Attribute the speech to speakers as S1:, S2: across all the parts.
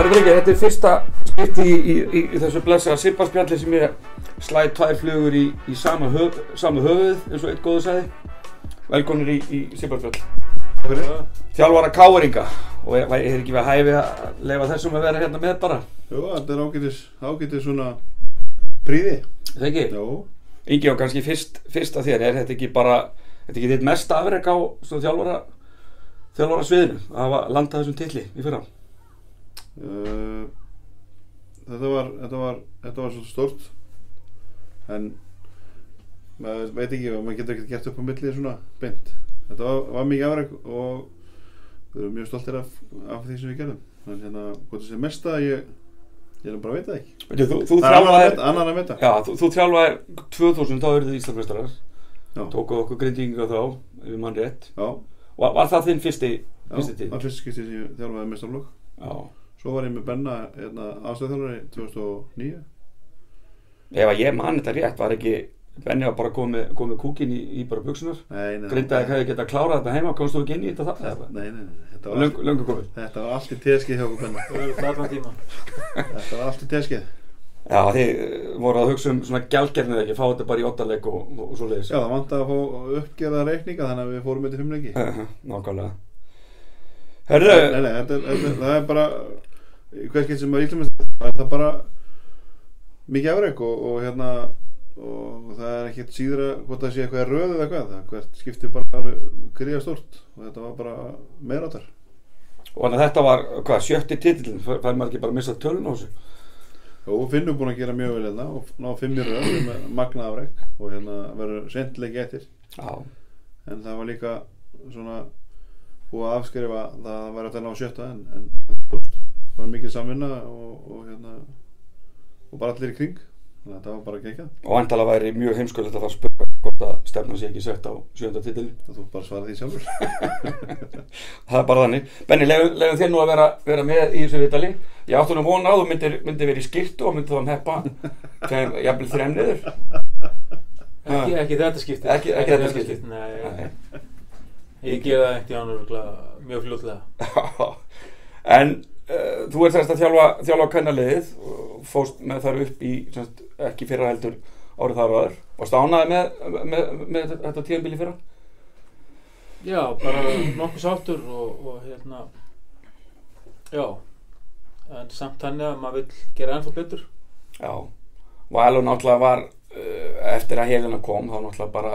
S1: Örguleikir, þetta er fyrsta skipti í, í, í, í þessu blessaða sipparspjalli sem ég slæði tvær flugur í, í sama, höf, sama höfuð, eins og eitt góðu sagði. Velkonir í, í sipparspjall. Þjálfara Káringa og ég, ég er ekki við að hæfi að leifa þessum að vera hérna með bara.
S2: Jó, þetta er ágætis, ágætis svona príði.
S1: Er Það ekki?
S2: Jó,
S1: Ingi og kannski fyrst, fyrst að þér, er þetta ekki bara, þetta ekki þitt mesta afreg á svona þjálfara, þjálfara sviðinu að hafa landað þessum titli í fyrra?
S2: uh, þetta var, þetta var, þetta var svolítið stórt. En maður veit ekki, maður getur ekkert gert upp á millið svona beint. Þetta var, var mikið afræk og við erum mjög stoltir af, af því sem við gerðum. En hérna, hvort það sé mesta, ég, ég er bara að veita það ekki.
S1: Veitir, Þú, þú
S2: Það er annar að
S1: þjálfaðir-
S2: meta, annar að meta.
S1: Já, þú, þú þjálfaðir 2000, þá eru þið Íslandmestrar
S2: Já.
S1: Tókuð okkur grindinga þá, ef ég mann rétt
S2: Já,
S1: Var, var það þinn fyrsti,
S2: já,
S1: fyrsti tíð?
S2: það er fyrst skiptið sem ég þjálfaði mestarflokk.
S1: Já
S2: Svo var ég með Benna hérna, aðstöðþjálfari 2009
S1: Ef að ég mann þetta rétt, var ekki Benni var bara komið komi kúkin í, í bara buksunar
S2: Nei, nei,
S1: Grindaði hefði getað klárað þetta heima, komst þú ekki inn í þetta það?
S2: Nei,
S1: eða?
S2: nei, nei,
S1: Það
S2: þetta var,
S1: var
S2: allt,
S1: Löngu, löngu komið
S2: þetta var allt í teskið hjá okkur Benna
S3: Það verður allan tíma.
S2: Þetta var allt í teskið Já,
S1: Já, þið eh, voruð að hugsa um svona gjaldgerðnið ekki, fá þetta bara í ottaleg og, og, og svo leiðis
S2: það vantaði að fá uppgerða reikninga þannig að við fórum með til fimmleiki Nei,
S1: Nákvæmlega
S2: nei,
S1: Herru,
S2: nei þetta, er- þetta, er- það er bara hverskið sem maður ítlum það er það bara mikið afreg og, og hérna og það er ekkert síðra hvort það sé eitthvað er röð eða hvað það hvert skipti bara gríða stórt og þetta var bara meiráttar
S1: og þannig að þetta var, hvað, sjötti titillin Fær fær maður ekki bara að missa tölun á þessu?
S2: og Finnur búin að gera mjög vel hérna og ná fimm í röð með magna afreg og hérna verður sendleiki eftir
S1: Já
S2: en það var líka svona búið að afskrifa það að það var hægt að ná sjötta en, en þú veist, það var mikil samvinna og, og hérna og bara allir í kring þannig að þetta var bara geggjað
S1: og endala væri mjög heimskulegt að fara að spura hvort að stefna sé ekki sett á sjönda titilin
S2: það þú bara svara því sjálfur
S1: það er bara þannig Benni, legum þér nú að vera, vera með í þessu vitali ég átti nú vona á þú myndir, myndir verið í skýrt og myndir þá um heppa þegar jafnvel þrem niður
S3: Ekki, ekki þetta skipti.
S1: Ah. Ekki- ekki þetta Ah. skipti.
S3: Nei,
S1: Nei.
S3: ég gef það ekkert í ánuruglega mjög fljótlega.
S1: en uh, þú ert þess að þjálfa, þjálfa kannaliðið og fóst með þar upp í semst, ekki fyrra heldur árið þar og aður og stánaði með, með, með þetta tíðanbili fyrra
S3: Já, bara nokkuð sáttur og, og hérna, já, en samt þannig að maður vill gera ennþá betur.
S1: Já, Valur náttúrulega var uh, eftir að helina kom þá náttúrulega bara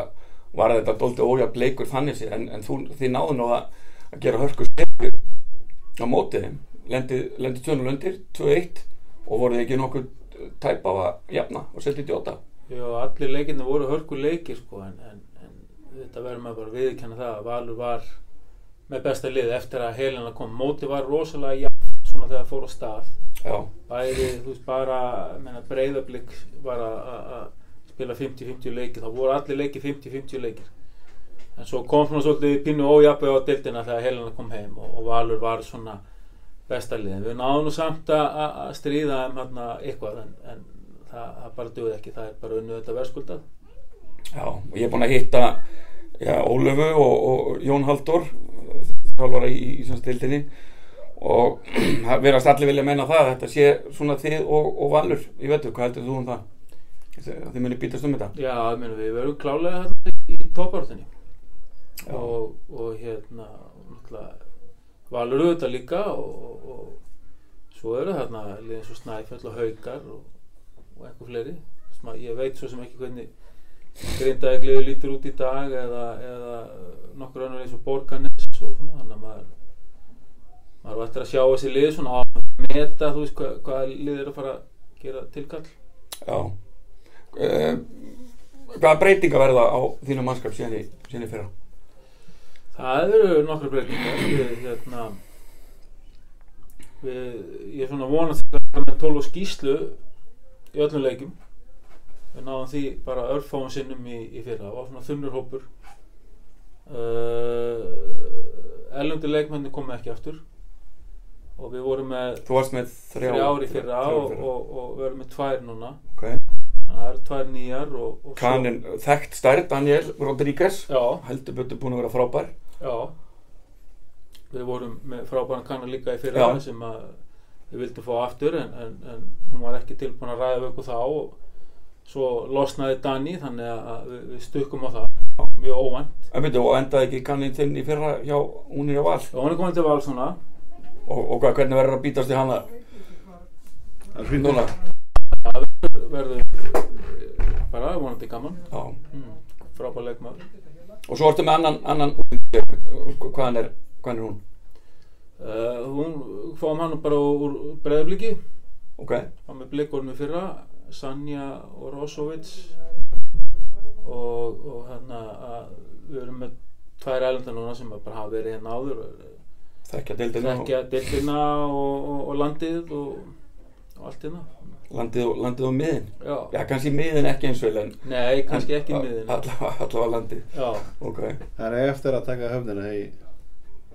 S1: var þetta doldi ójafn leikur þannig sér en, en þú, þið náðu nú að, að gera hörku stefi á móti þeim lendið lendi tönul undir, 2-1 og voruð þið ekki nokkuð tæp á að jafna og setja í 8
S3: Já, allir leikirna voru hörku leikir sko, en, en, en þetta verður maður bara að viðkjanna það að Valur var með besta lið eftir að helina kom. Móti var rosalega jafn svona þegar það fór á stað.
S1: Já,
S3: Bæði, þú veist, bara, menna, breyðablík var að- að að spila 50-50 leikir. Þá voru allir leikir 50-50 leikir. En svo kom svona svolítið pínu ójafnveg á deildina þegar helina kom heim og, og Valur var svona besta lið. En Við náðum nú samt að- að að stríða um hérna eitthvað en, en það, það bara duði ekki. Það er bara unnu þetta verðskuldað.
S1: já, og ég er búin að hitta já, Ólöfu og, og Jón Halldór þjálfara í, í svona stildinni og það verðast allir vilja meina það að þetta sé svona þið og, og Valur ég veit hvað heldur þú um það þið muni býtast um þetta
S3: Já, ég meina við verðum klálega hérna í toppártunni
S1: Já.
S3: og, og hérna náttúrulega valur auðvitað líka og, og, og svo eru þarna liðin svo snæfell og haukar og, og einhver fleiri Sma, ég veit svo sem ekki hvernig grindaði liður lítur út í dag eða, eða nokkur önnur eins og borganes og svona þannig að maður maður var eftir að sjá þessi lið svona að meta þú veist hvað, hvað lið er að fara að gera tilkall
S1: já uh, hvaða breytinga verða á þínu mannskap síðan í, síðan í fyrra
S3: Það eru nokkra breytingar við, hérna, við, ég er svona vonast til að vera með 12 skýslu í öllum leikjum við náðum því bara örfáum sinnum í, í fyrra það var svona þunnur hópur uh, erlundi leikmenni komu ekki aftur og við vorum með
S1: þú varst með þrjá
S3: þrjá ári fyrra
S1: þrjá
S3: og,
S1: í fyrra.
S3: og, og við erum með tvær núna
S1: okay.
S3: þannig að það eru tvær nýjar og, og svo-
S1: kanin þekkt stærð Daniel Rodríguez
S3: já,
S1: heldur betur búin að vera frábær
S3: Já Við vorum með frábæran kannar líka í
S1: Já.
S3: fyrra sem að við vildum fá aftur en, en, en hún var ekki tilbúin að ræða við okkur þá og svo losnaði Dani þannig að við, við stukkum á það mjög óvænt
S1: En byrju, og endaði ekki kannið þinn í fyrra hjá hún er á val
S3: og hún er komin til val svona
S1: og, og hvað, hvernig verður að býtast í hana
S2: Það er fínt
S1: núna?
S3: verður eh, bara vonandi gaman
S1: Já.
S3: mm, frábær leikmaður
S1: Og svo ertu með annan, annan útlending. hvaðan er, hvaðan er hún?
S3: uh, hún fáum hann bara úr breyðabliki
S1: Ok,
S3: var með blikornu í fyrra Sanja og Rosovic og, og hérna að við erum með tvær ælendar núna sem að bara hafa verið hérna áður
S1: þekkja deildina
S3: þekkja deltina og, og, og landið og, og allt hérna
S1: og landið, og- landið og miðin.
S3: já.
S1: Já, kannski miðin ekki eins vel en
S3: nei, kannski ekki
S1: en-
S3: miðin
S1: Allavega allavega landið.
S3: já,
S1: Ok,
S2: Það er eftir að taka höfnina hei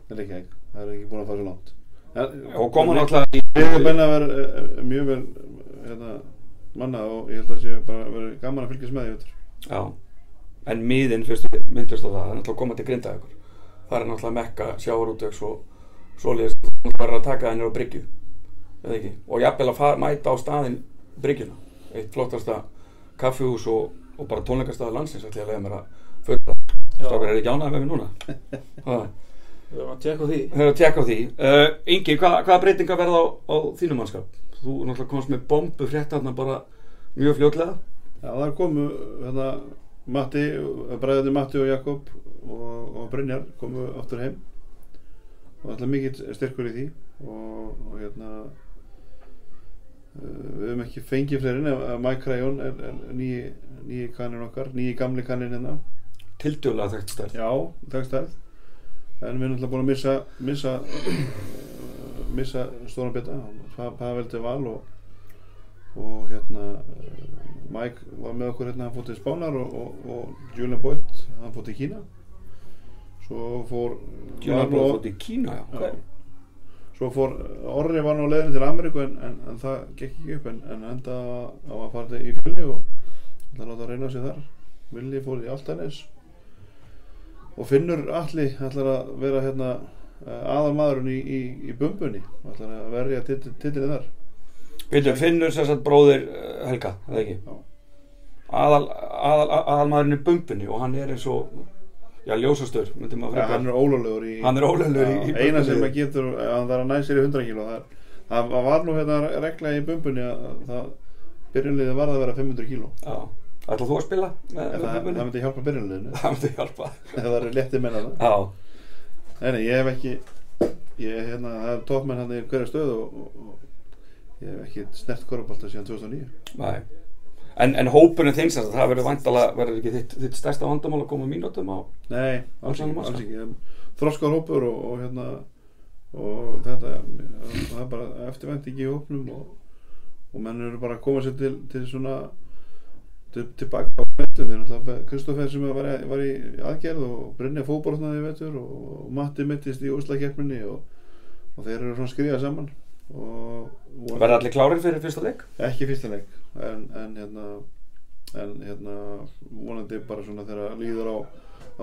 S2: Það er ekki ekki Það er ekki búin að fara svo langt En-
S1: og koma náttúrulega í...
S2: Ég er benn að vera eh, eh, mjög vel eh, hérna, manna og ég held að sé bara verið gaman að fylgjast með því veitur.
S1: Já, en miðin fyrst myndust á það, það er náttúrulega að koma til grinda ykkur. Það er náttúrulega mekka, sjávarútvegs og svoleiðis. Þú verður að taka þennir á bryggju, eða ekki? Og jafnvel að fara, mæta á staðinn bryggjuna. Eitt flottasta kaffihús og, og bara tónleikastaða landsins ætla ég að leiða mér að fulla.
S3: já
S1: Strákar, er ekki ánægð með mig núna? Ha,
S3: við erum að tjekka á því
S1: Það er að tekka á því. Uh, Ingi, hvað, hvaða breytinga verða á, á þínum mannskap? Þú náttúrulega komst með bombu fréttarna bara mjög fljótlega.
S2: Já, það komu hérna, Matti, bræðinni Matti og Jakob og, og Brynjar komu aftur heim og alltaf mikið styrkur í því og, og hérna eh, við höfum ekki fengið fleiri en Mike Crayon er, er nýji, nýji kannin okkar, nýji gamli kannin hérna
S1: Tildjóðlega þekkt stærð.
S2: Já, dagstærð en við erum alltaf búin að missa missa, eh, missa stóran bita Pa- Pavel til val og, og hérna eh, Mike var með okkur hérna hann fór til Spánar og, og, og Julian Boyd hann fór til Kína svo fór
S1: Tjóðlega
S2: var nú-
S1: bara fótt í Kína, já.
S2: Já. svo fór Orri var nú á leiðinu til Ameríku en, en, en það gekk ekki upp en, en enda á að fara til- í fjölni og það láta að reyna sig þar Villi fór í Altanes og Finnur Alli ætlar að vera hérna aðalmaðurinn í, í, í bumbunni ætlar að verja titlið þar
S1: Vilja finnur sem sagt bróðir eh, Helga, eða ekki?
S2: Já.
S1: Aðal, aðal, aðalmaðurinn í bumbunni og hann er eins og, já, ljósastur, myndi maður
S2: ja,
S1: frekar.
S2: hann er ólöglegur í,
S1: Hann er ólegur í, í
S2: Já, eina sem
S1: Bumbunni.
S2: að getur hann þarf að næ sér í 100 kíló það, er- það var nú hérna regla í bumbunni að að það byrjunliði varð að vera 500 kíló
S1: Já, ætla þú að spila með
S2: það,
S1: með
S2: það
S1: bumbunni?
S2: myndi hjálpa byrjunliðinu
S1: Það myndi hjálpa.
S2: ef það eru létti menna það
S1: Já,
S2: Nei, nei, ég hef ekki ég, hérna, það er toppmenn hann í hverja stöð og, og, og ég hef ekki snert korfbalta síðan 2009
S1: næ. En, en hópurinn þinn sem sagt, það verður vantala, verður ekki þitt, þitt stærsta vandamál að koma mínútum á?
S2: Nei, alls
S1: Allan
S2: ekki,
S1: massa.
S2: alls ekki. En Þroskar hópur og, og hérna og þetta það er bara eftirvænting í hópnum og, og menn eru bara að koma sér til, til svona til, tilbaka á meðlum við erum alltaf Kristoffer sem var, í- var í aðgerð og Brynja fótborðnaði í vetur og, og Matti mittist í úslakeppninni og, og þeir eru svona skriðað saman og, og
S1: Verður allir klárir fyrir fyrsta leik?
S2: ekki fyrsta leik en, en hérna en hérna vonandi bara svona þegar líður á,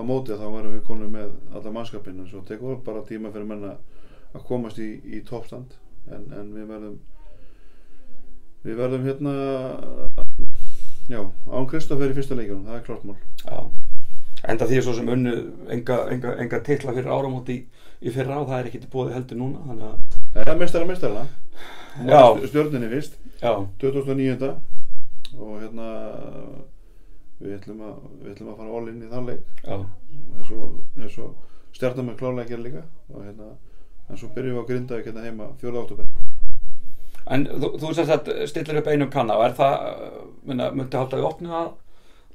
S2: á móti þá verðum við konum með alla mannskapinu svo tekur bara tíma fyrir menna að komast í, í toppstand en, en við verðum við verðum hérna já, án Kristoffer í fyrsta leikjunum það er klart mál
S1: Já. Enda því svo sem unnu enga, enga, enga titla fyrir áramóti í, í fyrra og það er ekki til bóði heldur núna, þannig að,
S2: það er mestara mestarana
S1: Já.
S2: stjórninni fyrst
S1: já.
S2: 2009 og hérna við ætlum að, við ætlum að fara all in í þann leik
S1: Já,
S2: eins og, eins og stjarnar með klálega að gera líka og hérna, en svo byrjum við á Grindavík hérna heima 4. oktober
S1: en þú, þú sem sagt stillir upp einum kanna og er það, uh, minna, myndi halda við opnu að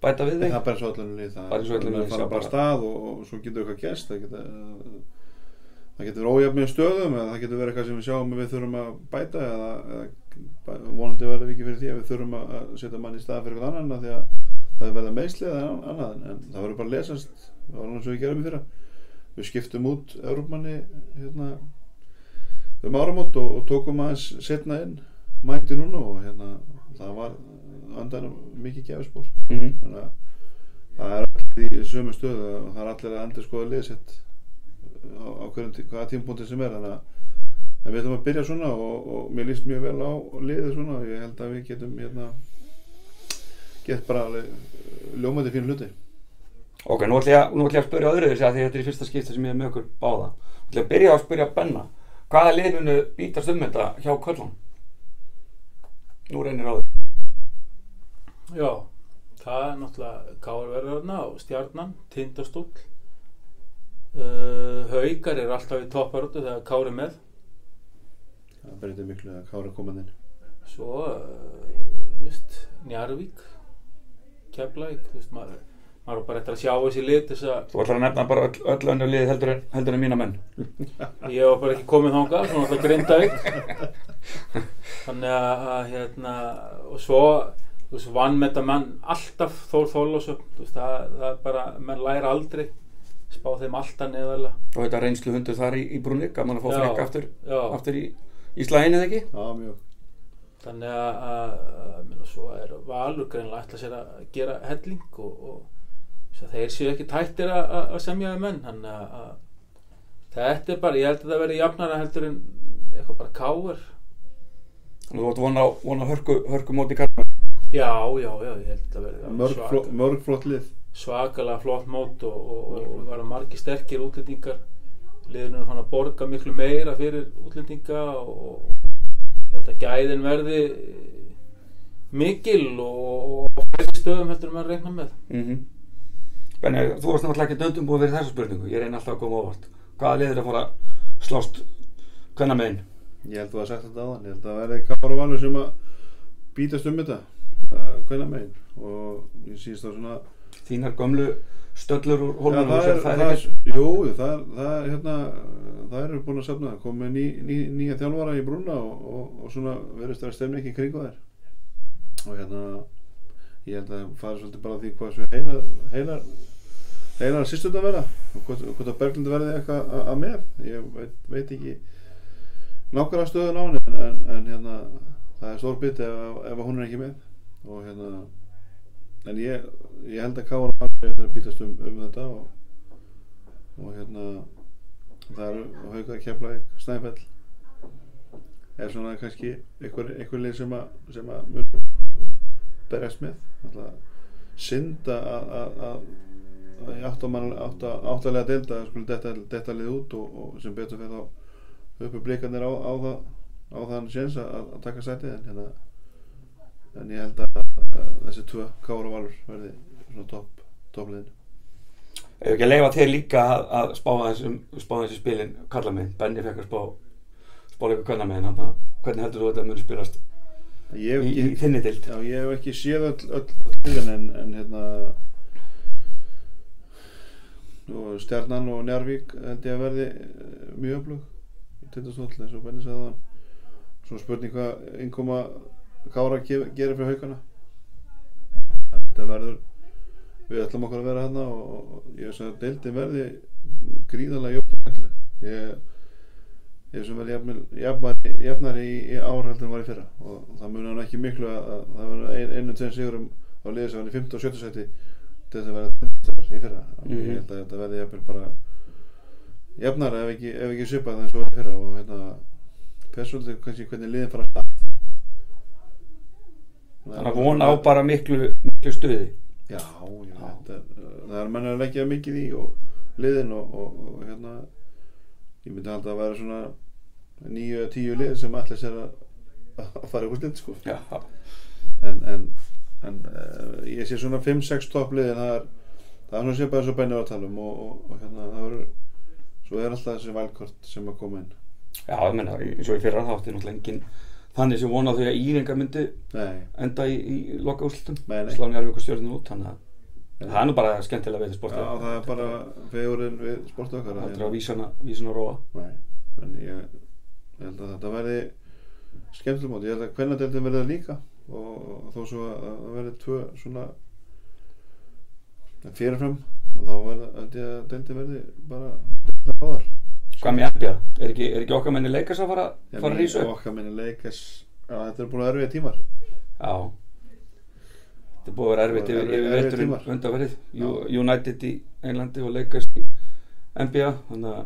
S1: bæta við
S2: það
S1: þig?
S2: er bara eins og allan lið það
S1: Bara eins og öllum
S2: það
S1: lið,
S2: fara
S1: sjá
S2: bara
S1: bara.
S2: af stað og, og svo getur eitthvað gæst það getur það getur verið ójafn með stöðum eða það getur verið eitthvað sem við sjáum að við þurfum að bæta eða, eða bæ- vonandi verður við ekki fyrir því að við þurfum að að setja mann í stað fyrir eitthvað annan af því að það verða meðsli eða an- annað en, en það verður bara að lesast það var alveg svo við gerum í fyrra við skiptum út Európmanni hérna, um áramót og, og tókum aðeins setna inn mækti núna og hérna það var andanum mikið gefispor
S1: Mm
S2: þannig að það er allir í sömu stöðu og uh, það er allir að endur skoða liðsett á, á hverjum tí hvaða tímpúnti sem er þannig að En við ætlum að byrja svona og, og mér líst mjög vel á liðið svona og ég held að við getum hérna gett bara alveg eh, ljómandi fínu hluti.
S1: Ok, nú ætlum ég, að- nú ætla ég að spyrja öðru þessi að því þetta er í fyrsta skipta sem ég er með okkur báða. Nú ætlum ég að byrja á að spyrja Benna. Hvaða lið munu bítast um þetta hjá Köllan? Nú reynir á þig.
S3: Já, það er náttúrulega Kárverðarna og Stjarnan, Tindastúll. Uh, haukar eru alltaf í topparötu þegar Kár er með.
S2: Það breytir miklu að Kára koma inn.
S3: Svo, uh, veist, Njarvík, Keflæk, þú veist, maður, maður á bara eftir að sjá þessi lit þess að
S1: Þú ætlar að nefna bara öll, öll önnur lið heldur en, heldur en mína menn.
S3: ég var bara ekki komið þangað, svona alltaf Grindavík. Þannig að, að, hérna, og svo, þú veist, vann með þetta menn alltaf Þór Þorlásöfn, þú veist, það, það er bara, menn læra aldrei, spá þeim alltaf neðarlega.
S1: Og þetta reynslu hundur þar í, í Brunni, gaman að fá
S3: Já,
S1: frekka aftur,
S3: já.
S1: aftur í, í slæðinu eða ekki?
S2: Já, mjög.
S3: Þannig að, að, að minna, svo er Valur greinlega ætla sér að gera helling og, og svo þeir séu ekki tættir að, að- að semja við menn þannig að, að þetta er bara, ég held að það verði jafnara heldur en eitthvað bara káur
S1: Þannig að Þú átt vona, á- vona hörku, hörku móti kallar.
S3: Já, já, já, ég held að það verði alveg
S2: Mörg, fló,
S3: svaka-
S2: mörg flott lið.
S3: svakalega flott mót og, og, og, og verða margi sterkir útlendingar liðinu er fann að borga miklu meira fyrir útlendinga og, og ég held að gæðin verði eh, mikil og, og á fleiri stöðum heldur en maður reikna með
S1: Mm -hmm. Benni, þú varst náttúrulega ekki döndum búið fyrir þessa spurningu. Ég reyni alltaf að koma á óvart. Hvaða lið er að fara að slást hvenna
S2: Ég held að þú að sagt þetta áðan. Ég held að það verði Kára Valur sem að bítast um þetta. Uh, Hvenna megin. Og ég síðist það svona...
S1: Þínar gömlu stöllur úr
S2: Já,
S1: hólmanum
S2: það er, það er, jú, það er, það er, hérna, það eru búin að safna, komið ný, ný, nýja þjálfara í brúna og, og, og svona verðist það að stemna ekki kringu þær. Og hérna, ég held að fara svolítið bara á því hvað sem heilar, heilar, heilar sýstundar verða og hvort, hvort að Berglind verði eitthvað a- að með. Ég veit, veit ekki nákvæmlega stöðun á henni en, en, en hérna, það er stór bit ef, ef að hún er ekki með. Og hérna, en ég, ég held að Kára Marri eftir að býtast um, um þetta og, og hérna það eru haukað Keflavík, Snæfell er svona kannski einhver, einhver lið sem að, sem að mun berjast með alltaf synd að að- að að í áttamann- átta- áttalega deilda skulle detta, detta lið út og, og sem betur fyrir þá uppi blikarnir á, á það á þann séns að, að taka sætið en hérna en ég held að, að þessi tvö Kára og Valur verði svona topp toppliðin
S1: Ef ekki að leifa þér líka að, að spá aðeins um spá aðeins í spilin kalla mig, Benni fekk að spá spá líka kalla mig, hann hvernig heldur þú þetta muni spilast
S2: ég hef
S1: í, í
S2: ekki,
S1: þinni dild?
S2: já, ég hef ekki séð öll, öll tíðan en, en hérna og Stjarnan og Njárvík held ég að verði eh, mjög öflug tindastóll eins og Benni sagði þann svona spurning hvað innkoma Kára gef- gerir fyrir haukana þetta verður við ætlum okkur að vera hérna og, og- og ég veist að deildin verði gríðarlega jöfnlega ég ég sem verði jafnvel- jafnari, jafnari í, í ár heldur en var í fyrra og það muni hann ekki miklu að, að það verður ein, einu tveim sigurum á liðið sem var í 15 og 17 seti til þess að verða tindastars í fyrra
S1: Mhm.
S2: ég held að þetta verði jafnvel bara jafnara ef ekki, ef ekki svipað eins og var í fyrra og hérna persónuleg kannski hvernig liðin fara að stað
S1: Þannig að vona á bara miklu, miklu stuði.
S2: Já, já,
S1: Já.
S2: þetta er, uh, það er menn að leggja mikið í og liðin og, og, og hérna ég myndi halda að vera svona nýju eða tíu lið sem ætla sér að, að fara úr lind sko
S1: Já,
S2: en, en, en uh, ég sé svona 5-6 topp liðin það er, það er svona svipað eins og bænir að tala um og, og, og hérna það verður svo er alltaf þessi valkort sem að koma inn
S1: já ég menna, eins og í fyrra þá átti náttúrulega enginn þannig sem vona því að Íringa myndi
S2: Nei,
S1: enda í, í loka úrslutum,
S2: Nei, nei.
S1: sláni alveg ykkur stjórnum út, þannig að það er nú bara skemmtilega við
S2: já, það
S1: sportið.
S2: er bara fegurinn við sportu okkar að
S1: Aldrei
S2: hérna-
S1: að vísana, vísana róa.
S2: Nei, en ég ég held að þetta verði skemmtileg mót, ég held að hvernig deildin verði það líka og þó svo að að það verði tvö svona fyrirfram og þá verði held ég að deildin verði bara deildin báðar
S1: Hvað með Embja? Er ekki, er ekki okkar menni leikas að fara, fara að
S2: Ég
S1: rísa
S2: meina,
S1: upp?
S2: okkar minni leikas já, þetta er búin að erfið tímar
S1: Já Þetta er búið að vera erfitt
S2: Búið að
S1: yfir,
S2: vera
S1: yfir
S2: erfitt
S1: veturinn
S2: tímar.
S1: undanverið
S2: Já.
S1: United í Englandi og Lakers í NBA þannig að
S2: Já,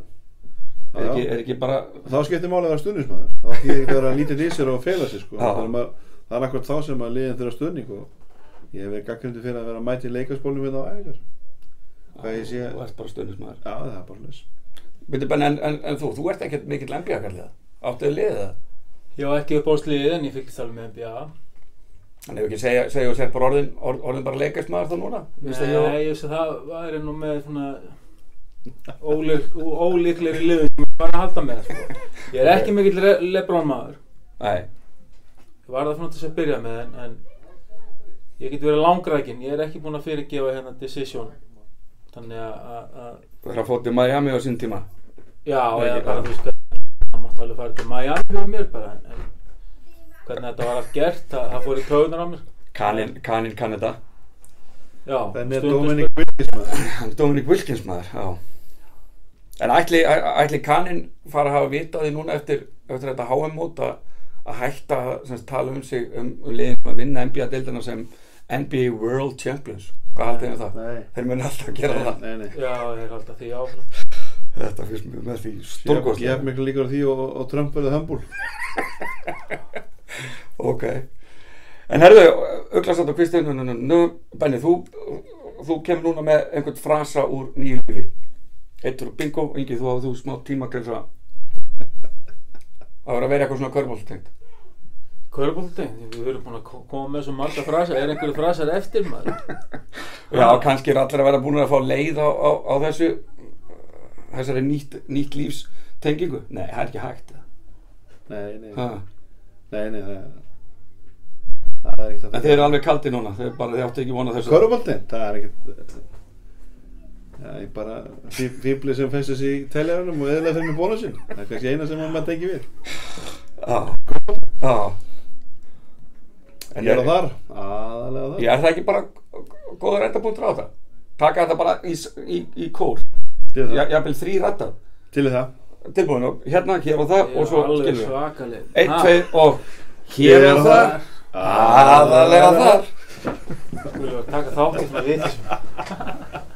S1: er
S2: já.
S1: ekki, er ekki bara
S2: Þá skiptir málið að vera stuðnismæður. Þá því er ekki að vera lítið í sér og fela sér sko.
S1: Já.
S2: Það er, maður, það er akkurat þá sem að liðin þurfa stuðning og ég hef verið gaggrindi fyrir að vera að mæti leikaspólnum hérna á æfingar. Hvað ég sé-
S1: þú ert bara stöðnismæður
S2: Já, það er bara leys.
S1: en, en, en, en þú, þú ert ekkert mikill NBA-kalliða áttuðu liðið það
S3: Ég var ekki upp á sliðið en ég fylgist alveg með NBA.
S1: en ef ekki segja, segja og segja bara orðin, orð, orðin bara leikastmaður þá núna Veistu að
S3: Nei,
S1: ég-
S3: ég veist að það væri nú með svona ólík, ólíklegri liðum sem ég var að halda með. Sko. Ég er ekki mikill Le Lebron maður.
S1: Nei,
S3: Ég var það svona til þess að byrja með en, en ég get verið langrækin. Ég er ekki búinn að fyrirgefa hérna decision. Þannig að- að, að
S1: þú er að fótið Miami á sín tíma
S3: já,
S1: Nei,
S3: eða
S1: ekki
S3: bara
S1: það.
S3: þú veist að það mátti alveg fara til Miami fyrir mér bara. En, en hvernig þetta var allt gert, það, það fór í kröfunar á mér.
S1: Kanin, kanin Kanada
S3: Já,
S2: Þannig er
S3: stundum
S2: Dominic Wilkismæður.
S1: Hann er Dominic Wilkins maður, já En ætli, æ- ætli Kanin fara að hafa vitað því núna eftir, eftir þetta HM-mót að að hætta sem sagt, tala um sig um, um liðin sem að vinna NBA-deildina sem NBA World Champions Hvað haldið þið um það?
S2: Nei.
S1: Þeir muni alltaf að gera það
S2: Nei, nei.
S3: Já, ég er alltaf því áfram.
S1: Þetta fyrst mjög með því
S2: Ég ég
S1: stórgóðslega
S2: hef miklu líkur á því og, og Trump verði hömbúl.
S1: Ok En herðu, auglarsand og Kristinn nú, nú, nú, Benni, þú, þú kemur núna með einhvern frasa úr nýju lífi Eittur og bingo, Ingi, þú hafði þú smá tíma til þess að að vera að vera eitthvað svona körbóltengt
S3: Körbólti, við erum búin að ko- koma með svo marga frasar, er einhverju frasar eftir maður?
S1: Já, kannski er allir að vera búin að fá leið á, á, á þessu þessari nýtt, nýtt lífs tengingu Nei, það er ekki hægt
S2: Nei, nei.
S1: ha.
S2: Nei, nei, það það er ekkert
S1: En þeir eru alveg kaldi núna, þeir, bara, þeir áttu ekki vona þessu
S2: Köruboltinn, það er ekkert Já, ég bara fí- fífli sem festi sig í teljaranum og eðla fyrir mig bónusinn það er kannski eina sem maður tekið við
S1: Já, já En
S2: Ég er á þar, aðalega þar
S1: Já, er það ekki bara góður endapunktur á þetta? Taka þetta bara í, í, í kór,
S2: til það,
S1: ja- jafnvel þrý rætta,
S2: til það
S1: tilbúin og hérna, hér og það og svo skilur við.
S3: svakaleg.
S1: Einn,
S3: Ha,
S1: tveir og hér og það, aðalega þar.
S3: Skulum við taka þátt í svona vitt.